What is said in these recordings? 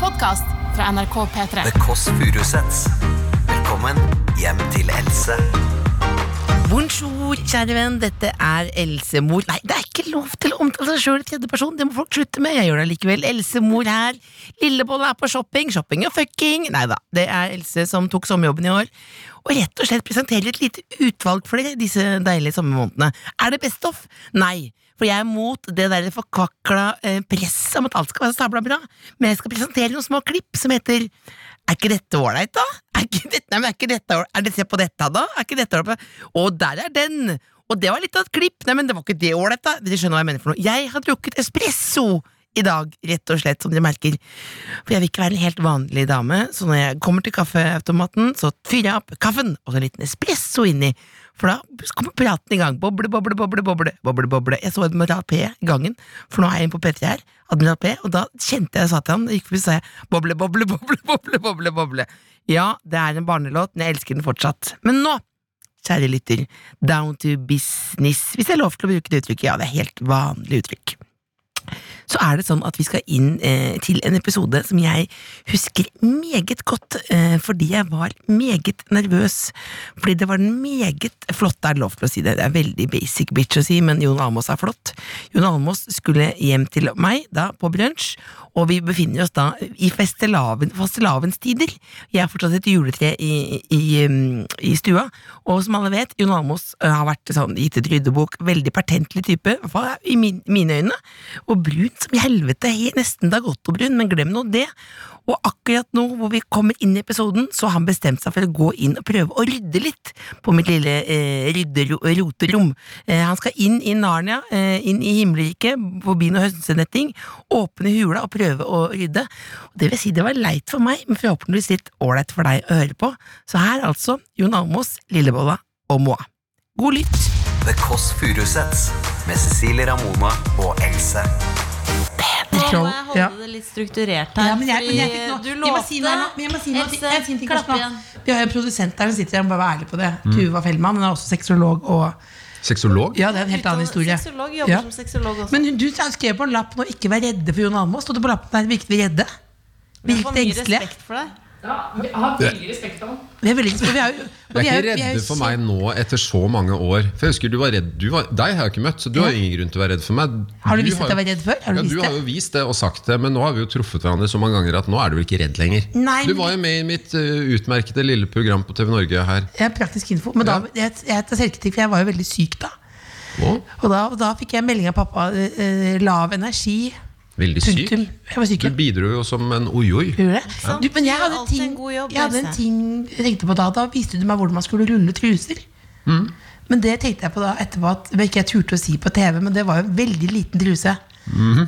podkast fra NRK P3. The Kåss Furuseths. Velkommen hjem til Else. Bonjour, kjære venn, dette er Elsemor. Nei, det er ikke lov til å omtale seg sjøl i tredjeperson, det må folk slutte med. Jeg gjør det likevel. Elsemor her. Lillebolla er på shopping. Shopping og fucking. Nei da, det er Else som tok sommerjobben i år. Og rett og slett presenterer et lite utvalg for dere disse deilige sommermånedene. Er det best off? Nei. For jeg er mot det der forkvakla eh, presset om at alt skal være stabla bra. Men jeg skal presentere noen små klipp som heter Er ikke dette ålreit, da? Er ikke dette, nei, men er ikke dette ål- er det, Se på dette, da? Er ikke dette ålreit? Å, der er den! Og det var litt av et klipp. Nei, men det var ikke det ålreit, da. Dere skjønner hva jeg mener for noe. Jeg har drukket espresso i dag, rett og slett, som dere merker. For jeg vil ikke være en helt vanlig dame, så når jeg kommer til kaffeautomaten, så fyrer jeg sånn, opp kaffen og så en liten espresso inni. For da kommer praten i gang. Boble, boble, boble, boble. boble, boble. Jeg så Admiral P i gangen, for nå er jeg inne på P3 her. Admiral P, Og da kjente jeg, sa til han, gikk forbi, sa jeg boble, boble, boble, boble, boble, boble. Ja, det er en barnelåt, men jeg elsker den fortsatt. Men nå kjære lytter, down to business, hvis jeg er lov til å bruke det uttrykket, ja, det er helt vanlig uttrykk. Så er det sånn at vi skal inn eh, til en episode som jeg husker meget godt, eh, fordi jeg var meget nervøs. Fordi det var den meget flott, det er lov til å si det, det er veldig basic bitch å si, men Jon Almås er flott. Jon Almås skulle hjem til meg da på brunsj, og vi befinner oss da i fastelavn- fastelavnstider. Jeg har fortsatt et juletre i, i, um, i stua, og som alle vet, Jon Almaas eh, har vært sånn, gitt ut ryddebok, veldig pertentlig type, i hvert fall i min, mine øyne, og brun som i helvete, he- nesten da godt og brun, men glem nå det. Og akkurat nå hvor vi kommer inn i episoden, så har han bestemt seg for å gå inn og prøve å rydde litt på mitt lille eh, ryddero- roterom. Eh, han skal inn i Narnia, eh, inn i himmelriket, forbi noe hønsenetting, åpne hula og prøve å rydde. Og det vil si, det var leit for meg, men forhåpentligvis litt ålreit for deg å høre på. Så her altså Jon Almås, Lillebolla og Moa. God lytt! The Kåss Furuseths med Cecilie Ramona og Else. Nå må Troll, jeg holde ja. det litt strukturert her. Ja, men jeg, men jeg fordi fikk noe, du jeg må si noe, nå, men jeg må si noe, Else, en ting til klapp Karsten, igjen. da. Vi har jo en produsent der som sitter der, jeg må bare være ærlig på det. Mm. Tuva Fellmann, hun er også sexolog og Sexolog? Ja, det er en helt annen Utdannet historie. Sexolog jobber Ja. som sexolog også. Men hun- du skrev på en lapp nå 'ikke vær redde for Jon Almaas'. Stod det på lappen der 'virket vi redde'? Jeg Virket får mye engstelige? respekt for deg. Ja, vi har veldig respekt for ham. Vi er veldig vi er jo- Vi er vi ikke jo- vi er jo redde for så- meg nå etter så mange år. For jeg husker du var redd du var, Deg har jeg ikke møtt, så du har ingen grunn til å være redd for meg. Har du vist at jo- jeg var redd før? Har du ja, vist du det? har jo vist det og sagt det, men nå har vi jo truffet hverandre så mange ganger at nå er du vel ikke redd lenger. Nei, du men- var jo med i mitt eh, utmerkede lille program på TV Norge her. Jeg har praktisk info. Men da, jeg, jeg tar selvkritikk, for jeg var jo veldig syk da. Nå? Og da, og da fikk jeg melding av pappa. eh, eh, lav energi. Veldig syk. Punktum. Jeg var syk. Du ja. bidro jo som en ojoj. Gjorde det? sant? Du, men jeg Du gjør hadde, alltid ting, en god jobb, jeg hadde en Else. ting jeg tenkte på da. Da viste du meg hvordan man skulle rulle truser. Men det tenkte jeg på da etterpå at det ikke jeg turte å si på TV, men det var jo en veldig liten truse.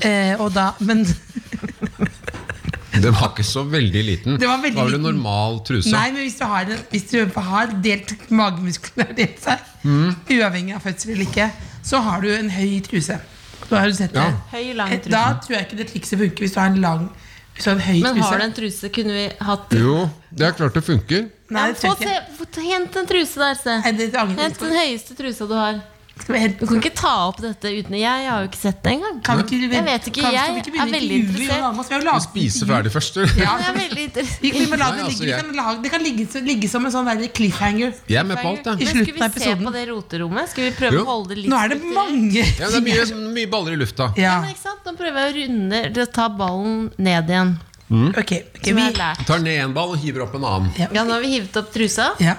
eh, og da, men Den var ikke så veldig liten. Det var veldig vel en liten. normal truse. Nei, men hvis du har, en- hvis du har delt magemusklene har delt seg, uavhengig av fødsel eller ikke, så har du en høy truse. Da har du sett det. Ja. Høy, lang Eh, truse. Da tror jeg ikke det trikset funker hvis du har en lang hvis du har en høy Men truse. har du en truse? Kunne vi hatt Jo, det er klart det funker. Nei, Ja, det få tror jeg ikke. se- få- Hent en truse der, se. Nei, det angrer jeg Hent på. den høyeste trusa du har. Skal vi hente- Du kan ikke ta opp dette uten Jeg har jo ikke sett det engang. Kan vi ikke, Jeg vet ikke, kan, jeg skal vi er ikke begynne å veldig intervjue interessert. Jon Almaas? Vi har jo laget Spise intervju. ferdig først, du. Ja. Men Jeg er veldig Vi, vi må la det Nei, altså, ligge. Vi jeg- kan lage, det kan ligge, så- ligge som en sånn der cliffhanger. Jeg er med på alt, jeg. I Men slutten Skulle av vi se episoden. på det roterommet? Skulle vi prøve Jo. å holde det litt Nå er det strukturert? mange Ja, det er mye, mye baller i lufta. Ja. Ja, men ikke sant? Nå prøver jeg å runde til å ta ballen ned igjen. Ok, ok, Som vi, jeg har lært. Tar ned en ball og hiver opp en annen. Ja, nå har vi hivet opp trusa. ja,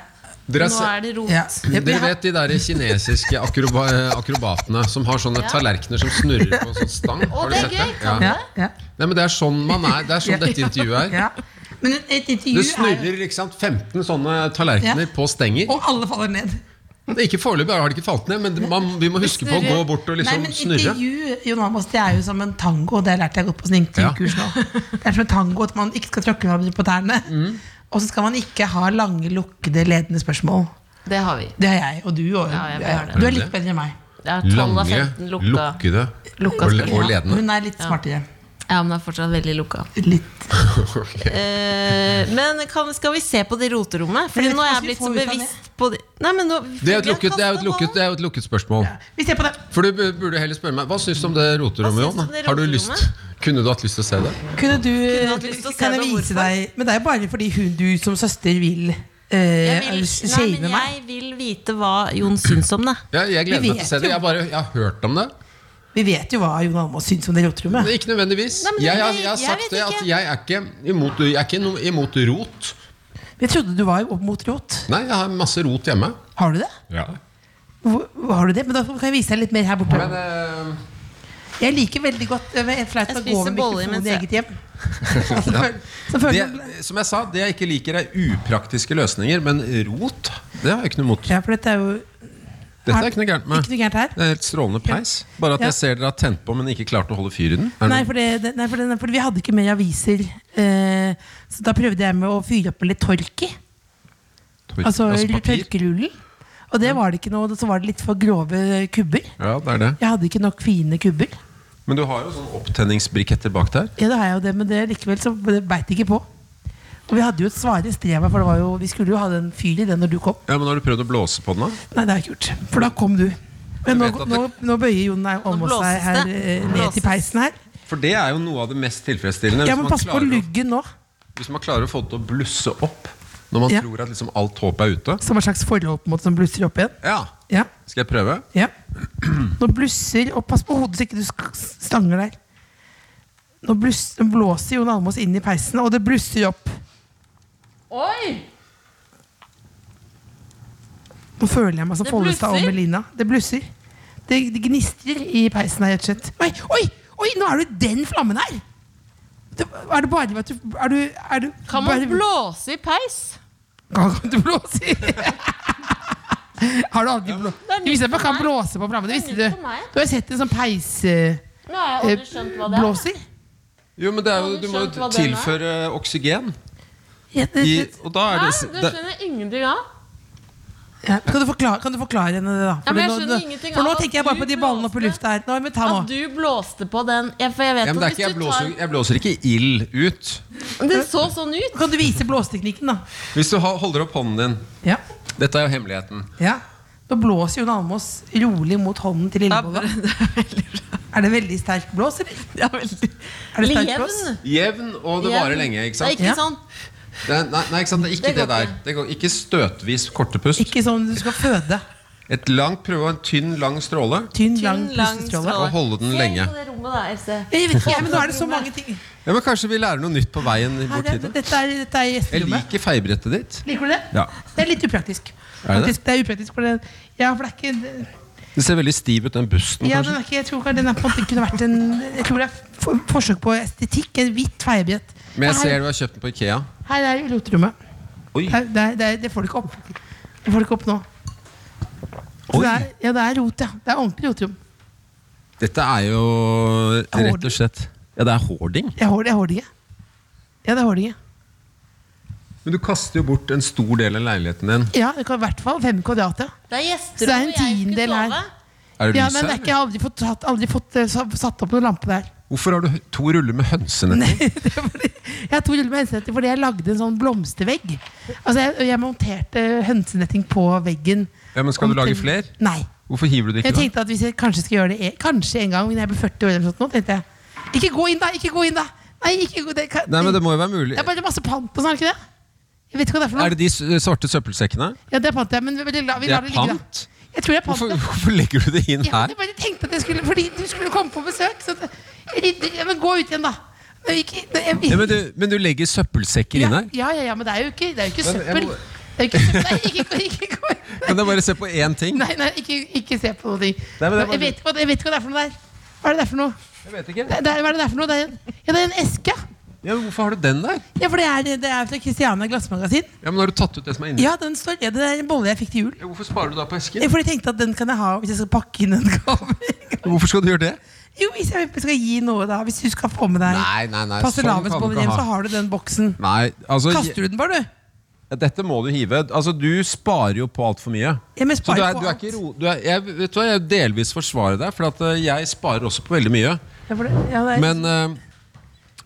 Dere, Nå se- er det rot. ja. dere vet de der kinesiske akroba akrobatene som har sånne Ja. tallerkener som snurrer på en sånn stang? Har du det er sett gøy. det? Ja. Ja, ja, Nei, men det er sånn man er. Det er sånn dette intervjuet er. ja. Men et- et intervju Det er jo snurrer ikke sant, 15 sånne tallerkener Ja. på stenger. Og alle faller ned. Det er Ikke Foreløpig har det ikke falt ned, men det- man, vi må huske på å gå bort og Nei, liksom men snurre. intervju Jon Almaas, det er jo som en tango. Det lærte jeg godt på sånn intervjukurs nå. Det er som en tango at man ikke skal tråkke hverandre på tærne. Mm. Og så skal man ikke ha lange, lukkede, ledende spørsmål. Det har vi. Det har jeg, og du òg. Ja, jeg har det. du er litt bedre enn meg. Det er 12 av Lange, 15 lukka. lukkede Lukka og, spørsmål. og ledende. Hun er litt smartere. Ja, men det er fortsatt veldig lukka. Litt. Ok. Eh, men kan, skal vi se på det roterommet? Jeg Fordi vet nå er ikke jeg hva vi blitt så får ut av bevisst på det. Nei, men nå, Det er jo et vi har lukket, det er jo et kastet lukket, det ballen. er jo et lukket spørsmål. Vi ser på det. For du bu- burde heller spørre meg Hva syns du om det roterommet, Hva syns du Jon? om det Har du roterommet? lyst Kunne du hatt lyst til å se det? Kunne du, hatt lyst til å se kan jeg det, vise hvorfor? deg Men det er jo bare fordi hun du som søster vil Jeg eh, vil, nei, shame men meg. jeg vil vite hva Jon syns om det. Ja, jeg gleder Vi meg til å se vet det. jo. Jeg, bare, jeg har hørt om det. Vi vet jo hva Jon Almaas syns om det roterommet. Men ikke nødvendigvis. Nei, men jeg, det- har- jeg har jeg sagt vet det at ikke. jeg er ikke imot, jeg er ikke no, imot rot. Jeg trodde du var opp mot rot. Nei, jeg har masse rot hjemme. Har du det? Hvor, hvor har du det? Men da kan jeg vise deg litt mer her borte. Men eh, Jeg liker veldig godt øh, men flaut å Jeg gå spiser med boller mikrofonen mens i jeg- eget hjem. Så føl- så føler man- det, som jeg sa, det jeg ikke liker, er upraktiske løsninger. Men rot, det har jeg ikke noe imot. Ja, for dette er jo Dette er ikke noe gærent med. Ikke noe gærent her? Det er helt strålende peis. Bare at Ja. jeg ser dere har tent på, men ikke klart å holde fyr i den. Er det Nei, noe- for, det, det- nei, for, det, nei, for vi hadde ikke mer aviser. eh, så da prøvde jeg med å fyre opp med litt tork i. Tor- Altså, papir? tørkerullen. Og det var det ikke noe. Så var det litt for grove kubber. Ja, det er det. Jeg hadde ikke nok fine kubber. Men du har jo sånn opptenningsbriketter bak der. Ja, det har jeg jo det, men det likevel så beit det ikke på. Og vi hadde jo et svare strev, for det var jo, vi skulle jo ha den fyr i den når du kom. Ja, men Har du prøvd å blåse på den, da? Nei, det har jeg ikke gjort. For da kom du. Men nå, Jeg vet at nå, det- nå bøyer Jon deg om Nå oss her, blåses det. eh, Nå ned til blåses. peisen her. For det er jo noe av det mest tilfredsstillende. Ja, hvis, men man pass på klarer, luggen nå, å- hvis man klarer å få det til å blusse opp når man Ja. tror at liksom alt håp er ute. som en slags forhold på en måte som blusser opp igjen. Ja, Ja, Skal jeg prøve? ja. Nå blusser, og pass på hodet så ikke du sk- stanger der. Nå bluss, nå blåser Jon Almaas inn i peisen, og det blusser opp. Oi! Nå føler jeg meg som Det Follestad og blusser. Melina. Det blusser. Det, det gnistrer i peisen her, rett og slett. Oi, oi, oi, nå er du den flammen her! Det, er det bare at du Er du, er du Kan man bare- blåse i peis? Kan kan du blåse i? Har du aldri blå... er nytt Du visste at man for kan meg. blåse på flammene? Visste nytt du? for meg. Du har sett en sånn peisblåser? Nå har jeg aldri skjønt hva Eh, det er. Jo, men det er jo, Har du Du må skjønt jo hva den er? tilføre oksygen. Ja, det- I, det- og da er Hæ? det, Du det skjønner ingenting av? ja. Kan, du forklare, kan du forklare henne det, da? Ja, men Fordi jeg nå- skjønner nå- ingenting for nå av at tenker jeg bare du på de ballene oppe i blåste. lufta her. Nå, men ta nå. At du blåste på den ja, For jeg vet ja, men det er at ikke, jeg, hvis du blåser, jeg blåser ikke ild ut. tar Det så sånn ut. Kan du vise blåseteknikken, da? Hvis du ha- holder opp hånden din Ja. Dette er jo hemmeligheten. ja. Nå blåser Jon Almaas rolig mot hånden til lillebolla. Er det veldig sterk blås, eller? Er det sterk blås? Jevn. Jevn, og det varer Jevn. lenge. Det er ikke sant? Ja. ikke sånn Det er, nei, nei, ikke sant, det er ikke Det går det, der. ikke. Det går, ikke støtvis korte pust. Ikke sånn du skal føde. Et langt prøve og en tynn, lang stråle. Tynn, lang tynn, lang pustestråle. stråle. Og holde den Se lenge. på det rommet da, Else. Jeg vet ikke, men nå er det så mange ting. Ja, men Kanskje vi lærer noe nytt på veien Her, bort er- hit. da? dette er, dette er Jeg gjesterommet. liker feibrettet ditt. Liker du det? Ja. Det er litt upraktisk. Er det det? Faktisk, det er upraktisk for det. Ja, for det er ikke Det ser veldig stiv ut, den busten. ja, den kanskje er ikke, Jeg tror ikke den er på en måte kunne vært en Jeg tror det er for, forsøk på estetikk. En hvitt feiebrett. Men jeg her, ser du har kjøpt den på Ikea. her er roterommet. Oi, Det, er- det, er- det, er- det får du ikke opp. Det får du ikke opp nå. Så Oi. det er, ja, det er rot, ja. Det er ordentlig roterom. Dette er jo rett Hoarding. og slett Ja, det er hoarding. Jeg har det, jeg har det ikke. Ja, det har det ikke. Men du kaster jo bort en stor del av leiligheten din. Ja, det kan i hvert fall fem kvadrat, ja. Det er Så det er en gjesterom, og jeg skulle tiendedel her. sove. Er det ja lys men det her? er ikke, jeg har aldri fått, tatt- aldri fått eh, sa- satt opp noen lampe der. Hvorfor har du hø- to ruller med hønsenetting? Det var fordi- Jeg har to ruller med hønsenetting fordi jeg lagde en sånn blomstervegg. Altså jeg, jeg monterte hønsenetting på veggen. Ja, men skal du lage Omtrent- flere? Nei. Hvorfor hiver du det Jeg ikke? da? tenkte at hvis jeg kanskje skal gjøre det e- Kanskje en gang når jeg blir 40 år, eller noe sånt, nå, tenkte jeg. Ikke gå inn, da! Ikke gå inn, da! Nei, ikke gå, det, kan, Nei, men Det må jo være mulig. det er bare masse pant og sånn, er det ikke det? Jeg vet ikke hva det er for Er noe. det de s- svarte søppelsekkene? Ja, det er pant, ja, men vi, vi, lar- vi Det lar er det ligge, da. pant? Jeg tror det er pant. Hvorfor, ja. hvorfor legger du det inn Ja, her? jeg bare tenkte at jeg skulle Fordi du skulle komme på besøk. Så at, jeg rydder- ja, men gå ut igjen, da. Men ikke, det, jeg, Ja, men, du, men du legger søppelsekker inn ja, her? ja, ja, ja, men det er jo ikke, det er jo ikke Men jeg søppel. må- Det er jo ikke søppel. Nei, ikke, gå- ikke, gå inn. Kan jeg bare se på én ting? nei, nei ikke, ikke se på noe ting. Nei, men det er bare- jeg, vet ikke hva, det- jeg vet ikke hva det er for noe der. Hva er det der for noe? Jeg vet ikke. Det er, det er- hva er det der for noe? Det er, en- ja, det er en eske. Ja, men Hvorfor har du den der? Ja, for det er, det er fra Christiania glassmagasin. Ja, men Har du tatt ut det som er inni? Ja, den står ja, Det er en bolle jeg fikk til jul. Ja, Hvorfor sparer du da på Ja, esken? For jeg tenkte at den kan jeg ha hvis jeg skal pakke inn en gave. Hvorfor skal du gjøre det? Jo, hvis jeg skal gi noe, da. Hvis du skal få med deg Nei, sånn nei, nei, fastelavnsboller hjem, så ha. har du den boksen. Nei, altså Kaster du den bare, du? je- Dette må du hive. Altså, Du sparer jo på altfor mye. Ja, men Så sparer du er, på du er alt. ikke ro... Du er, jeg, vet du hva, jeg delvis forsvarer deg, for at eh, jeg sparer også på veldig mye. Ja, for det, ja, det er, Men, eh,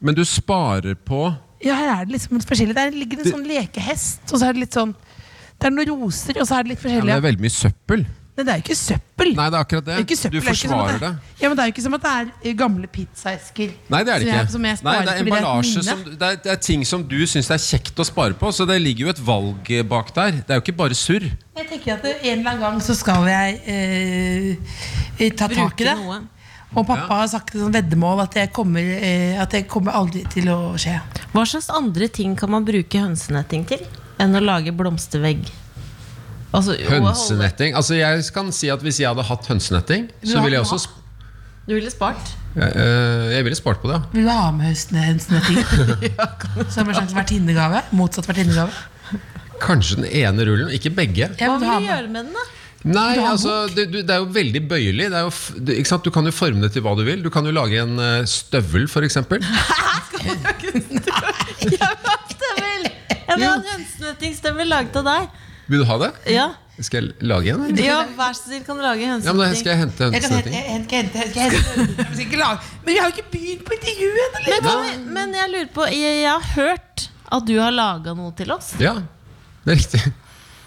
men du sparer på ja, her er det liksom litt forskjellig. Der ligger det en sånn lekehest, og så er det litt sånn Det er noen roser, og så er det litt ja, men Det forskjellig. er veldig mye søppel. Nei, det er jo ikke søppel. Nei, det er akkurat det. er ikke søppel, Du det er ikke sånn som at det. forsvarer det. er- Ja, men det er jo ikke som at det er eh, gamle pizzaesker. Nei, det er det som ikke. Jeg, som jeg Nei, sparer det er fordi et emballasje minne. som, det er, det er ting som du syns er kjekt å spare på, så det ligger jo et valg eh, bak der. Det er jo ikke bare surr. Jeg tenker at en eller annen gang så skal jeg eh, ta tak i det. Og pappa Ja. har sagt et sånt veddemål at jeg kommer, eh, at jeg kommer aldri til å skje. Hva slags andre ting kan man bruke hønsenetting til enn å lage blomstervegg? Altså, å holde- Hønsenetting. Altså, jeg kan si at hvis jeg hadde hatt hønsenetting, så ville jeg også sp- Du ville spart. jeg, eh, jeg ville spart på det, ja. Vil du ha med høstene hønsenetting? Som en slags vertinnegave? Motsatt vertinnegave? Kanskje den ene rullen, ikke Jeg begge. vil Hva vil ha du med. gjøre med den, da? Nei, altså, det, du, det er jo veldig bøyelig. Det er jo, f- det, ikke sant? Du kan jo forme det til hva du vil. Du kan jo lage en eh, støvel, f.eks. Støvel! Jeg vil ha en hønsenettingstøvel laget av deg. Vil du ha det? Ja, Skal jeg lage en? eller? ja vær så snill, kan du lage Ja, men da hønsenetting? skal jeg hente Jeg kan hente, hønsenetting. jeg kan hente, jeg kan hente. Jeg skal ikke lage- Men vi har jo ikke begynt på intervjuet ennå! Men, kan vi, men jeg lurer på, jeg, jeg har hørt at du har laga noe til oss. Ja, det er riktig.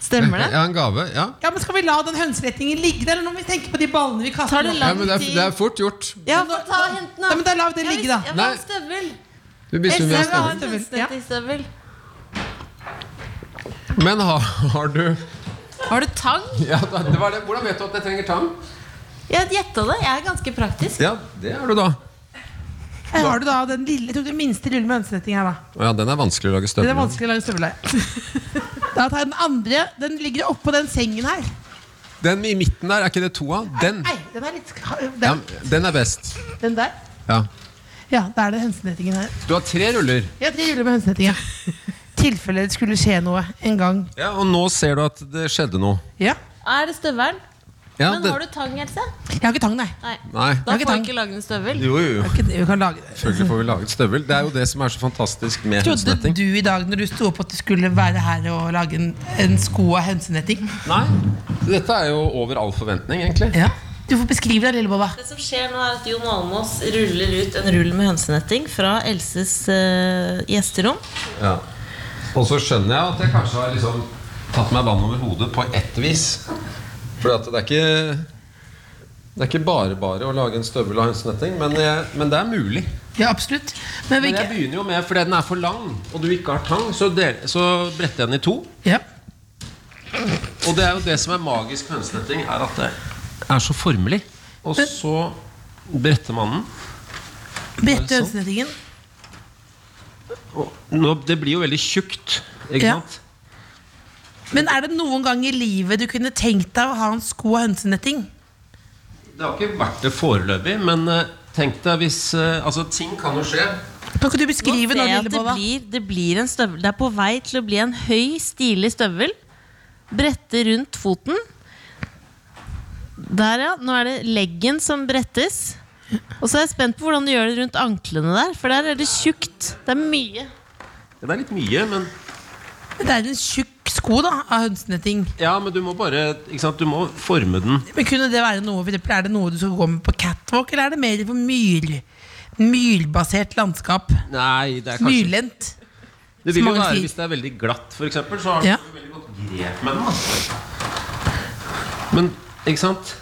Stemmer Jeg det? har en gave. ja Ja, men Skal vi la den hønserettingen ligge der, eller nå må vi tenke på de ballene vi kaster? Tar det Ja, lang men det, er, tid? det er fort gjort. Ja, få ta og hente den, Ja, men da lar vi det Jeg ligge, vil- da. Jeg vil ha en Nei. støvel. Du blir stum i Jeg vil ha stemmen. en støvel. hønsenettingstøvel. Men har, har du Har du tang? ja, da- det var det. Hvordan vet du at jeg trenger tang? Jeg gjetta det. Jeg er ganske praktisk. Ja, det har du, da. Her har du da den lille, jeg tok den minste lille med hønsenetting her, da. Å ja, den er vanskelig å lage Det er støvler av. vanskelig å lage støvler. Da tar jeg den andre. Den ligger oppå den sengen her. Den i midten der, er ikke det toa? Den. Nei, den er litt Ja, den, den er best. den der. Ja. Ja, da er det hønsenettingen her. Du har tre ruller, Jeg tre ruller med hønsenetting, ja. tilfelle det skulle skje noe en gang. ja, og nå ser du at det skjedde noe. Ja. Er det støvelen? Ja, Men det- har du tang, Else? Jeg har ikke tang, nei. Nei. Nei. Da ikke får tang. du ikke lage en støvel. Jo, jo, jo. Jeg har ikke- Vi kan lage det. Selvfølgelig får vi laget støvel. Det er jo det som er så fantastisk med Trodde hønsenetting. du i dag når du sto opp at du skulle være her og lage en, en sko av hønsenetting? Nei, dette er jo over all forventning, egentlig. Ja. Du får beskrive deg, Lillebolla. Det som skjer nå, er at Jon Almås ruller ut en rull med hønsenetting fra Elses eh, gjesterom. Ja. Og så skjønner jeg at jeg kanskje har liksom tatt meg vann over hodet på ett vis. For at det er ikke det er ikke bare bare å lage en støvel av hønsenetting, men, jeg- men det er mulig. Ja, absolutt. Men vi Men jeg ikke begynner jo med, fordi den er for lang, og du ikke har tang, så, del, så bretter jeg den i to. Ja. Og det er jo det som er magisk med hønsenetting, er at det er så formelig. Og så bretter man den. Brette hønsenettingen. Og nå, det blir jo veldig tjukt, ikke Ja. sant? Men er det noen gang i livet du kunne tenkt deg å ha en sko av hønsenetting? Det har ikke vært det foreløpig, men eh, tenk deg hvis eh, Altså, ting kan jo skje. Kan ikke du beskrive nå, at det Lillebolla? blir, det blir en støvel. Det er på vei til å bli en høy, stilig støvel. Brette rundt foten. Der, ja. Nå er det leggen som brettes. Og så er jeg spent på hvordan du gjør det rundt anklene der, for der er det tjukt. Det er mye. Det er litt mye, men Det er en tjukk sko da, av hønsenetting. Ja, men du må bare Ikke sant, du må forme den. Men kunne det være noe, for eksempel, Er det noe du skal gå med på catwalk, eller er det mer for myr, myrbasert landskap? Nei, det er kanskje Myrlendt. Det vil jo mange være sier. hvis det er veldig glatt, for eksempel, så har Ja. du veldig godt grep med den. Da. Men ikke sant?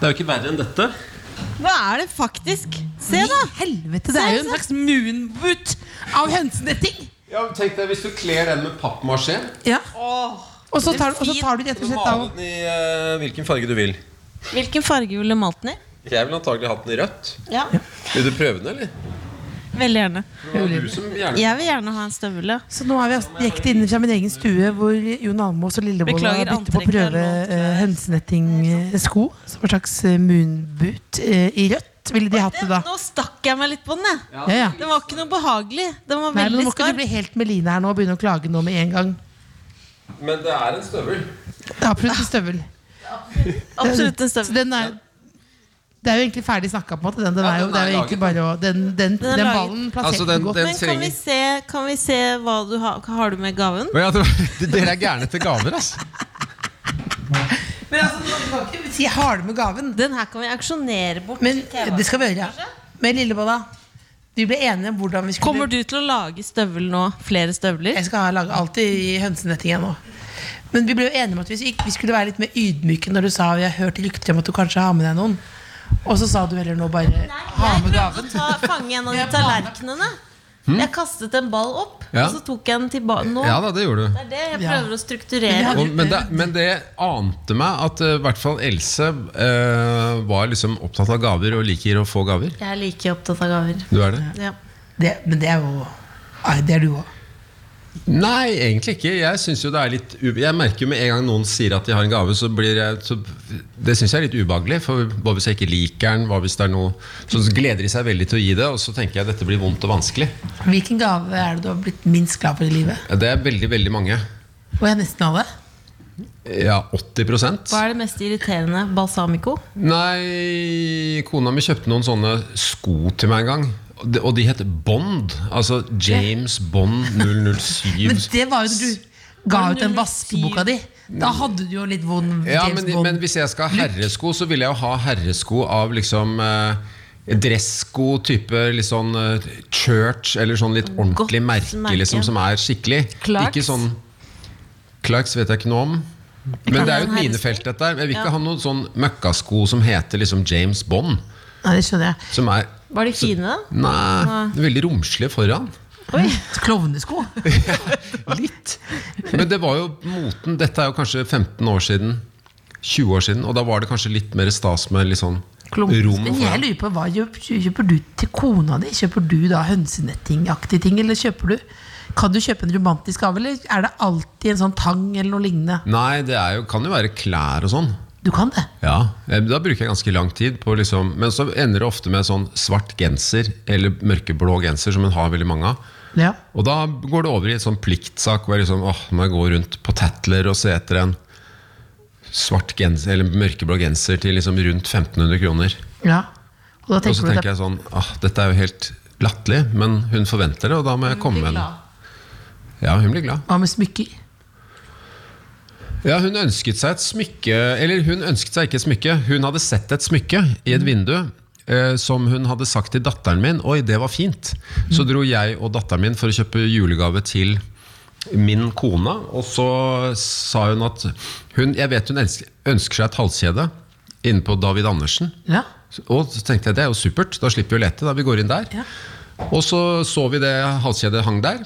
Det er jo ikke verre enn dette. Hva er det faktisk? Se, da! I helvete, det er jo en slags moonboot av hønsenetting! Ja, men Tenk deg hvis du kler den med pappmasjé. Ja. Og så tar, og så tar du rett og slett av Male den i eh, hvilken farge du vil. Hvilken farge ville du malt den i? Jeg ville antagelig hatt den i rødt. Ja, Vil du prøve den, eller? Veldig gjerne. Det var du som gjerne Jeg vil gjerne ha en støvel. ja. Så nå er vi altså direkte inne fra min egen stue, hvor Jon Almaas og Lillebolla Beklager, bytter på å antrekket er prøve lånt. eh, hønsenetting-sko. Som en slags eh, moonboot eh, i rødt. Ville de hatt det da? Nå stakk jeg meg litt på den, jeg. Ja, ja. Den var ikke noe behagelig. Den var Nei, men veldig Må ikke du skarp. bli helt Melina her nå og begynne å klage nå med en gang? Men det er en støvel. Det er Absolutt en støvel. Absolutt en Så støvel. den er, det er jo egentlig ferdig snakka på. en måte, Den, den, Ja, er jo, den det er er jo egentlig laget. bare å Den, den, er den, laget. ballen plasserte Altså, den- du godt. den- Men kan vi, trenger- se, kan vi se hva du har Har du med gaven? dere er gærne til gaver, altså. Men altså, du kan ikke si 'har du med gaven'? Den her kan vi auksjonere bort. Men til TV. det skal vi gjøre. ja. Men Lillebolla, vi ble enige om hvordan vi skulle Kommer du til å lage støvel nå? Flere støvler? Jeg skal ha- lage alltid i hønsenetting jeg nå. Men vi ble jo enige om at vi, ikke- vi skulle være litt mer ydmyke når du sa vi har hørt rykter om at du kanskje har med deg noen. Og så sa du heller nå bare ha Jeg med prøvde gaven. å ta, fange en av de tallerkenene. Hmm? Jeg kastet en ball opp, Ja. og så tok jeg den tilbake. Nå Ja da, det gjorde du. det er det jeg Ja. prøver å strukturere. Og, men, det, men det ante meg at eh, i hvert fall Else eh, var liksom opptatt av gaver og liker å få gaver. Jeg er like opptatt av gaver. Du er det? Ja. Det, men det er jo Nei, det er du òg. Nei, egentlig ikke. Jeg synes jo det er litt u- Jeg merker jo med en gang noen sier at de har en gave, så blir jeg så, Det syns jeg er litt ubehagelig. For hva hvis jeg ikke liker den? Hva hvis det er noe Så gleder de seg veldig til å gi det, og så tenker jeg dette blir vondt og vanskelig. Hvilken gave er det du har blitt minst glad for i livet? Det er veldig, veldig mange. Og jeg er nesten alle. Ja, 80 Hva er det mest irriterende? Balsamico? Nei, kona mi kjøpte noen sånne sko til meg en gang. Og de- Og de het Bond. Altså James Bond 007. Men det var jo når du ga ut den vaskeboka di. Da hadde du jo litt vond Ja, James men, Bond. men hvis jeg skal ha herresko, så vil jeg jo ha herresko av liksom eh, Dressko, type litt sånn eh, church, eller sånn litt ordentlig Godt merke, merke. liksom, som er skikkelig. Clarks? Ikke sånn Clarks vet jeg ikke noe om. Kan Men det er jeg ha jo et en minefelt, herresko? dette her. Jeg vil Ja. ikke ha noen sånn møkkasko som heter liksom James Bond. Nei, det skjønner jeg. Som er Var de fine, da? Nei, veldig romslige foran. Klovnesko. Litt. Men det var jo moten. Dette er jo kanskje 15 år siden. 20 år siden. Og da var det kanskje litt mer stas med litt sånn rom Men jeg foran. lurer på, hva kjøp- kjøper du til kona di? Kjøper du da hønsenettingaktige ting, eller kjøper du Kan du kjøpe en romantisk gave, eller er det alltid en sånn tang eller noe lignende? Nei, det er jo, kan jo være klær og sånn. Du kan det. Ja, eh, Da bruker jeg ganske lang tid. på liksom Men så ender det ofte med sånn svart genser eller mørkeblå genser, som hun har veldig mange av. Ja. Og da går det over i en sånn pliktsak hvor jeg liksom, åh, må jeg gå rundt på Tatler og se etter en svart genser, eller mørkeblå genser til liksom rundt 1500 kroner. ja. Og da Og så tenker du det. tenker jeg sånn, åh, dette er jo helt latterlig, men hun forventer det, og da må jeg komme med den. Ja, hun blir glad. Hva med smykker? Ja, hun ønsket seg et smykke Eller hun ønsket seg ikke et smykke Hun hadde sett et smykke i et Mm. vindu eh, Som hun hadde sagt til datteren min Oi, det var fint Så Mm. dro jeg og datteren min for å kjøpe julegave til Min kone Og så sa hun at hun, Jeg vet hun ønsker, ønsker seg et halskjede Inne på David Andersen Ja. og så tenkte jeg, det er jo supert, da slipper vi å lete da vi går inn der. Og så så vi det halskjedet hang der.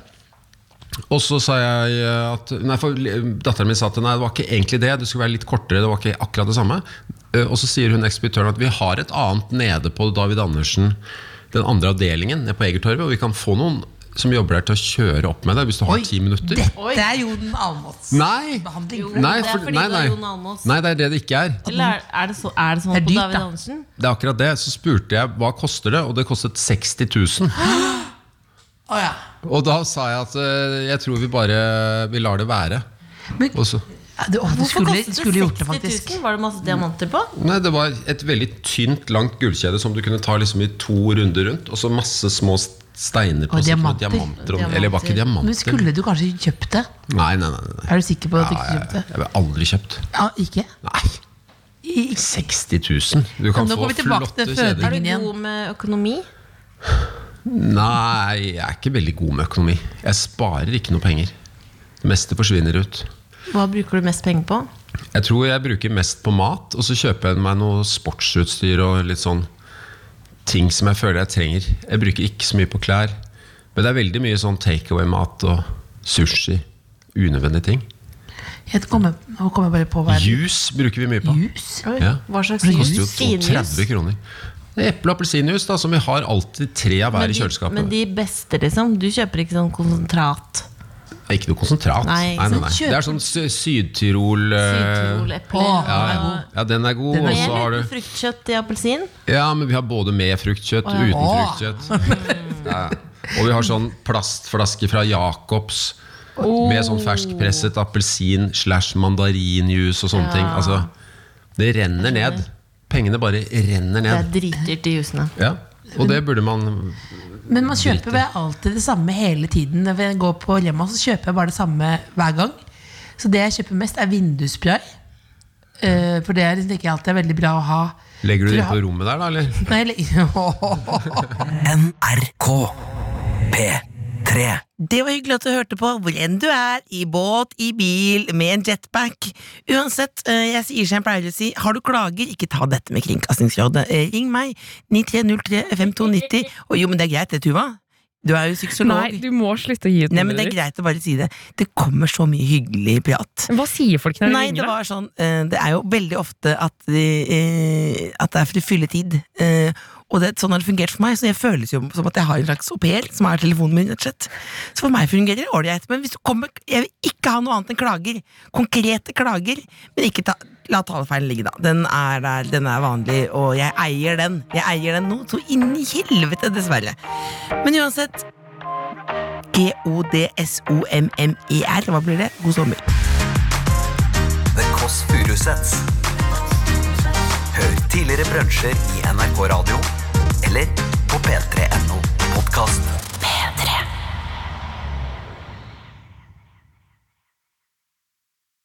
Og så sa jeg at Nei, for datteren min sa at nei, det var ikke egentlig det. Det skulle være litt kortere. det var ikke akkurat det samme Eh, Og så sier hun ekspeditøren at vi har et annet nede på David Andersen, den andre avdelingen nede på Egertorvet, og vi kan få noen som jobber der til å kjøre opp med deg hvis du har ti minutter. Dette er Jon Almås. Nei! Behandling. Nei, det er for, fordi nei, du er nei. Jon Almaas. nei, det er det det ikke er. Eller er, er, det så, er det sånn Det er på dyrt, David da. Andersen? Det er akkurat det. Så spurte jeg hva koster det, og det kostet 60 000. Å ja. Og da sa jeg at eh, jeg tror vi bare vi lar det være. Men- Og så- Ja, Du, å, du Hvorfor skulle, kostet skulle det gjort det, 60 faktisk. 000? Var det masse diamanter på? nei, det var et veldig tynt, langt gullkjede som du kunne ta liksom i to runder rundt. Og så masse små s- steiner på. Og så det var diamanter. diamanter om, eller det var Men ikke diamanter. skulle du kanskje kjøpt det? Nei, nei, nei. nei. Er du sikker på at du ikke Ja, jeg, kjøpte det? jeg ville aldri kjøpt. Ja, ikke? Nei, I- 60 000. Du kan Nå få går vi tilbake flotte til kjeder. Er du Ingen igjen. god med økonomi? Nei, jeg er ikke veldig god med økonomi. Jeg sparer ikke noe penger. Det meste forsvinner ut. Hva bruker du mest penger på? Jeg tror jeg bruker mest på mat, og så kjøper jeg meg noe sportsutstyr og litt sånn ting som jeg føler jeg trenger. Jeg bruker ikke så mye på klær, men det er veldig mye sånn takeaway-mat og sushi. Unødvendige ting. Jeg kommer, nå kommer jeg bare på hva jeg Juice bruker vi mye på. Juice? Ja. Hva slags Det koster jo jus? Finjus? 30 kroner. Det er Eple- og appelsinjuice, da, som vi har alltid tre av hver Men i de, kjøleskapet. men de beste, liksom? Du kjøper ikke sånn konsentrat? Det er Ikke noe konsentrat. Nei, nei, nei, nei. så Det er sånn sy- Syd-Tyrol eh, Sydtyrol-epler? ja, ja. ja, den er god. Og så har Mel, du fruktkjøtt i appelsin? Ja, men vi har både med fruktkjøtt og uten Åh. fruktkjøtt. Ja. Og vi har sånn plastflaske fra Jacobs med sånn ferskpresset appelsin slash mandarinjuice og sånne ting. Altså, det renner ned. Pengene bare renner Det er ned. dritdyrt i husene. Ja. Og det burde man Men man kjøper vel alltid det samme hele tiden. Når jeg går på Rema, så kjøper jeg bare det samme hver gang. Så det jeg kjøper mest, er vindusspray. Eh, for det er- tenker jeg alltid er veldig bra å ha. Legger du det Tror inn på rommet der, da? eller? Nei, eller- NRK P3 P3. Det var hyggelig at du hørte på, hvor enn du er, i båt, i bil, med en jetpack. Uansett, eh, jeg sier som jeg pleier å si, har du klager, ikke ta dette med Kringkastingsrådet. Eh, Ring meg, 93035290, og jo, men det er greit det, Tuva. Du er jo Nei, sexolog. du må slutte å gi ut Nei, men det er nummeret ditt. greit å bare si det. Det kommer så mye hyggelig prat. Hva sier folk når de Nei, det ringer deg? var sånn eh, Det er jo veldig ofte at, de, eh, at det er for å fylle tid. eh, og det, sånn har det fungert for meg, så jeg føles jo som at jeg har en slags au pair som er telefonen min. rett og slett. Så for meg fungerer det ålreit. Men hvis du kommer, jeg vil ikke ha noe annet enn klager. Konkrete klager. Men ikke ta, la talefeilen ligge, da. Den er der, den er vanlig, og jeg eier den. Jeg eier den nå, så inn i helvete, dessverre. Men uansett G-O-D-S-O-M-M-E-R. E Hva blir det? God sommer. The Kåss Furuseths. Hør tidligere brunsjer i NRK Radio eller på p3.no podkast.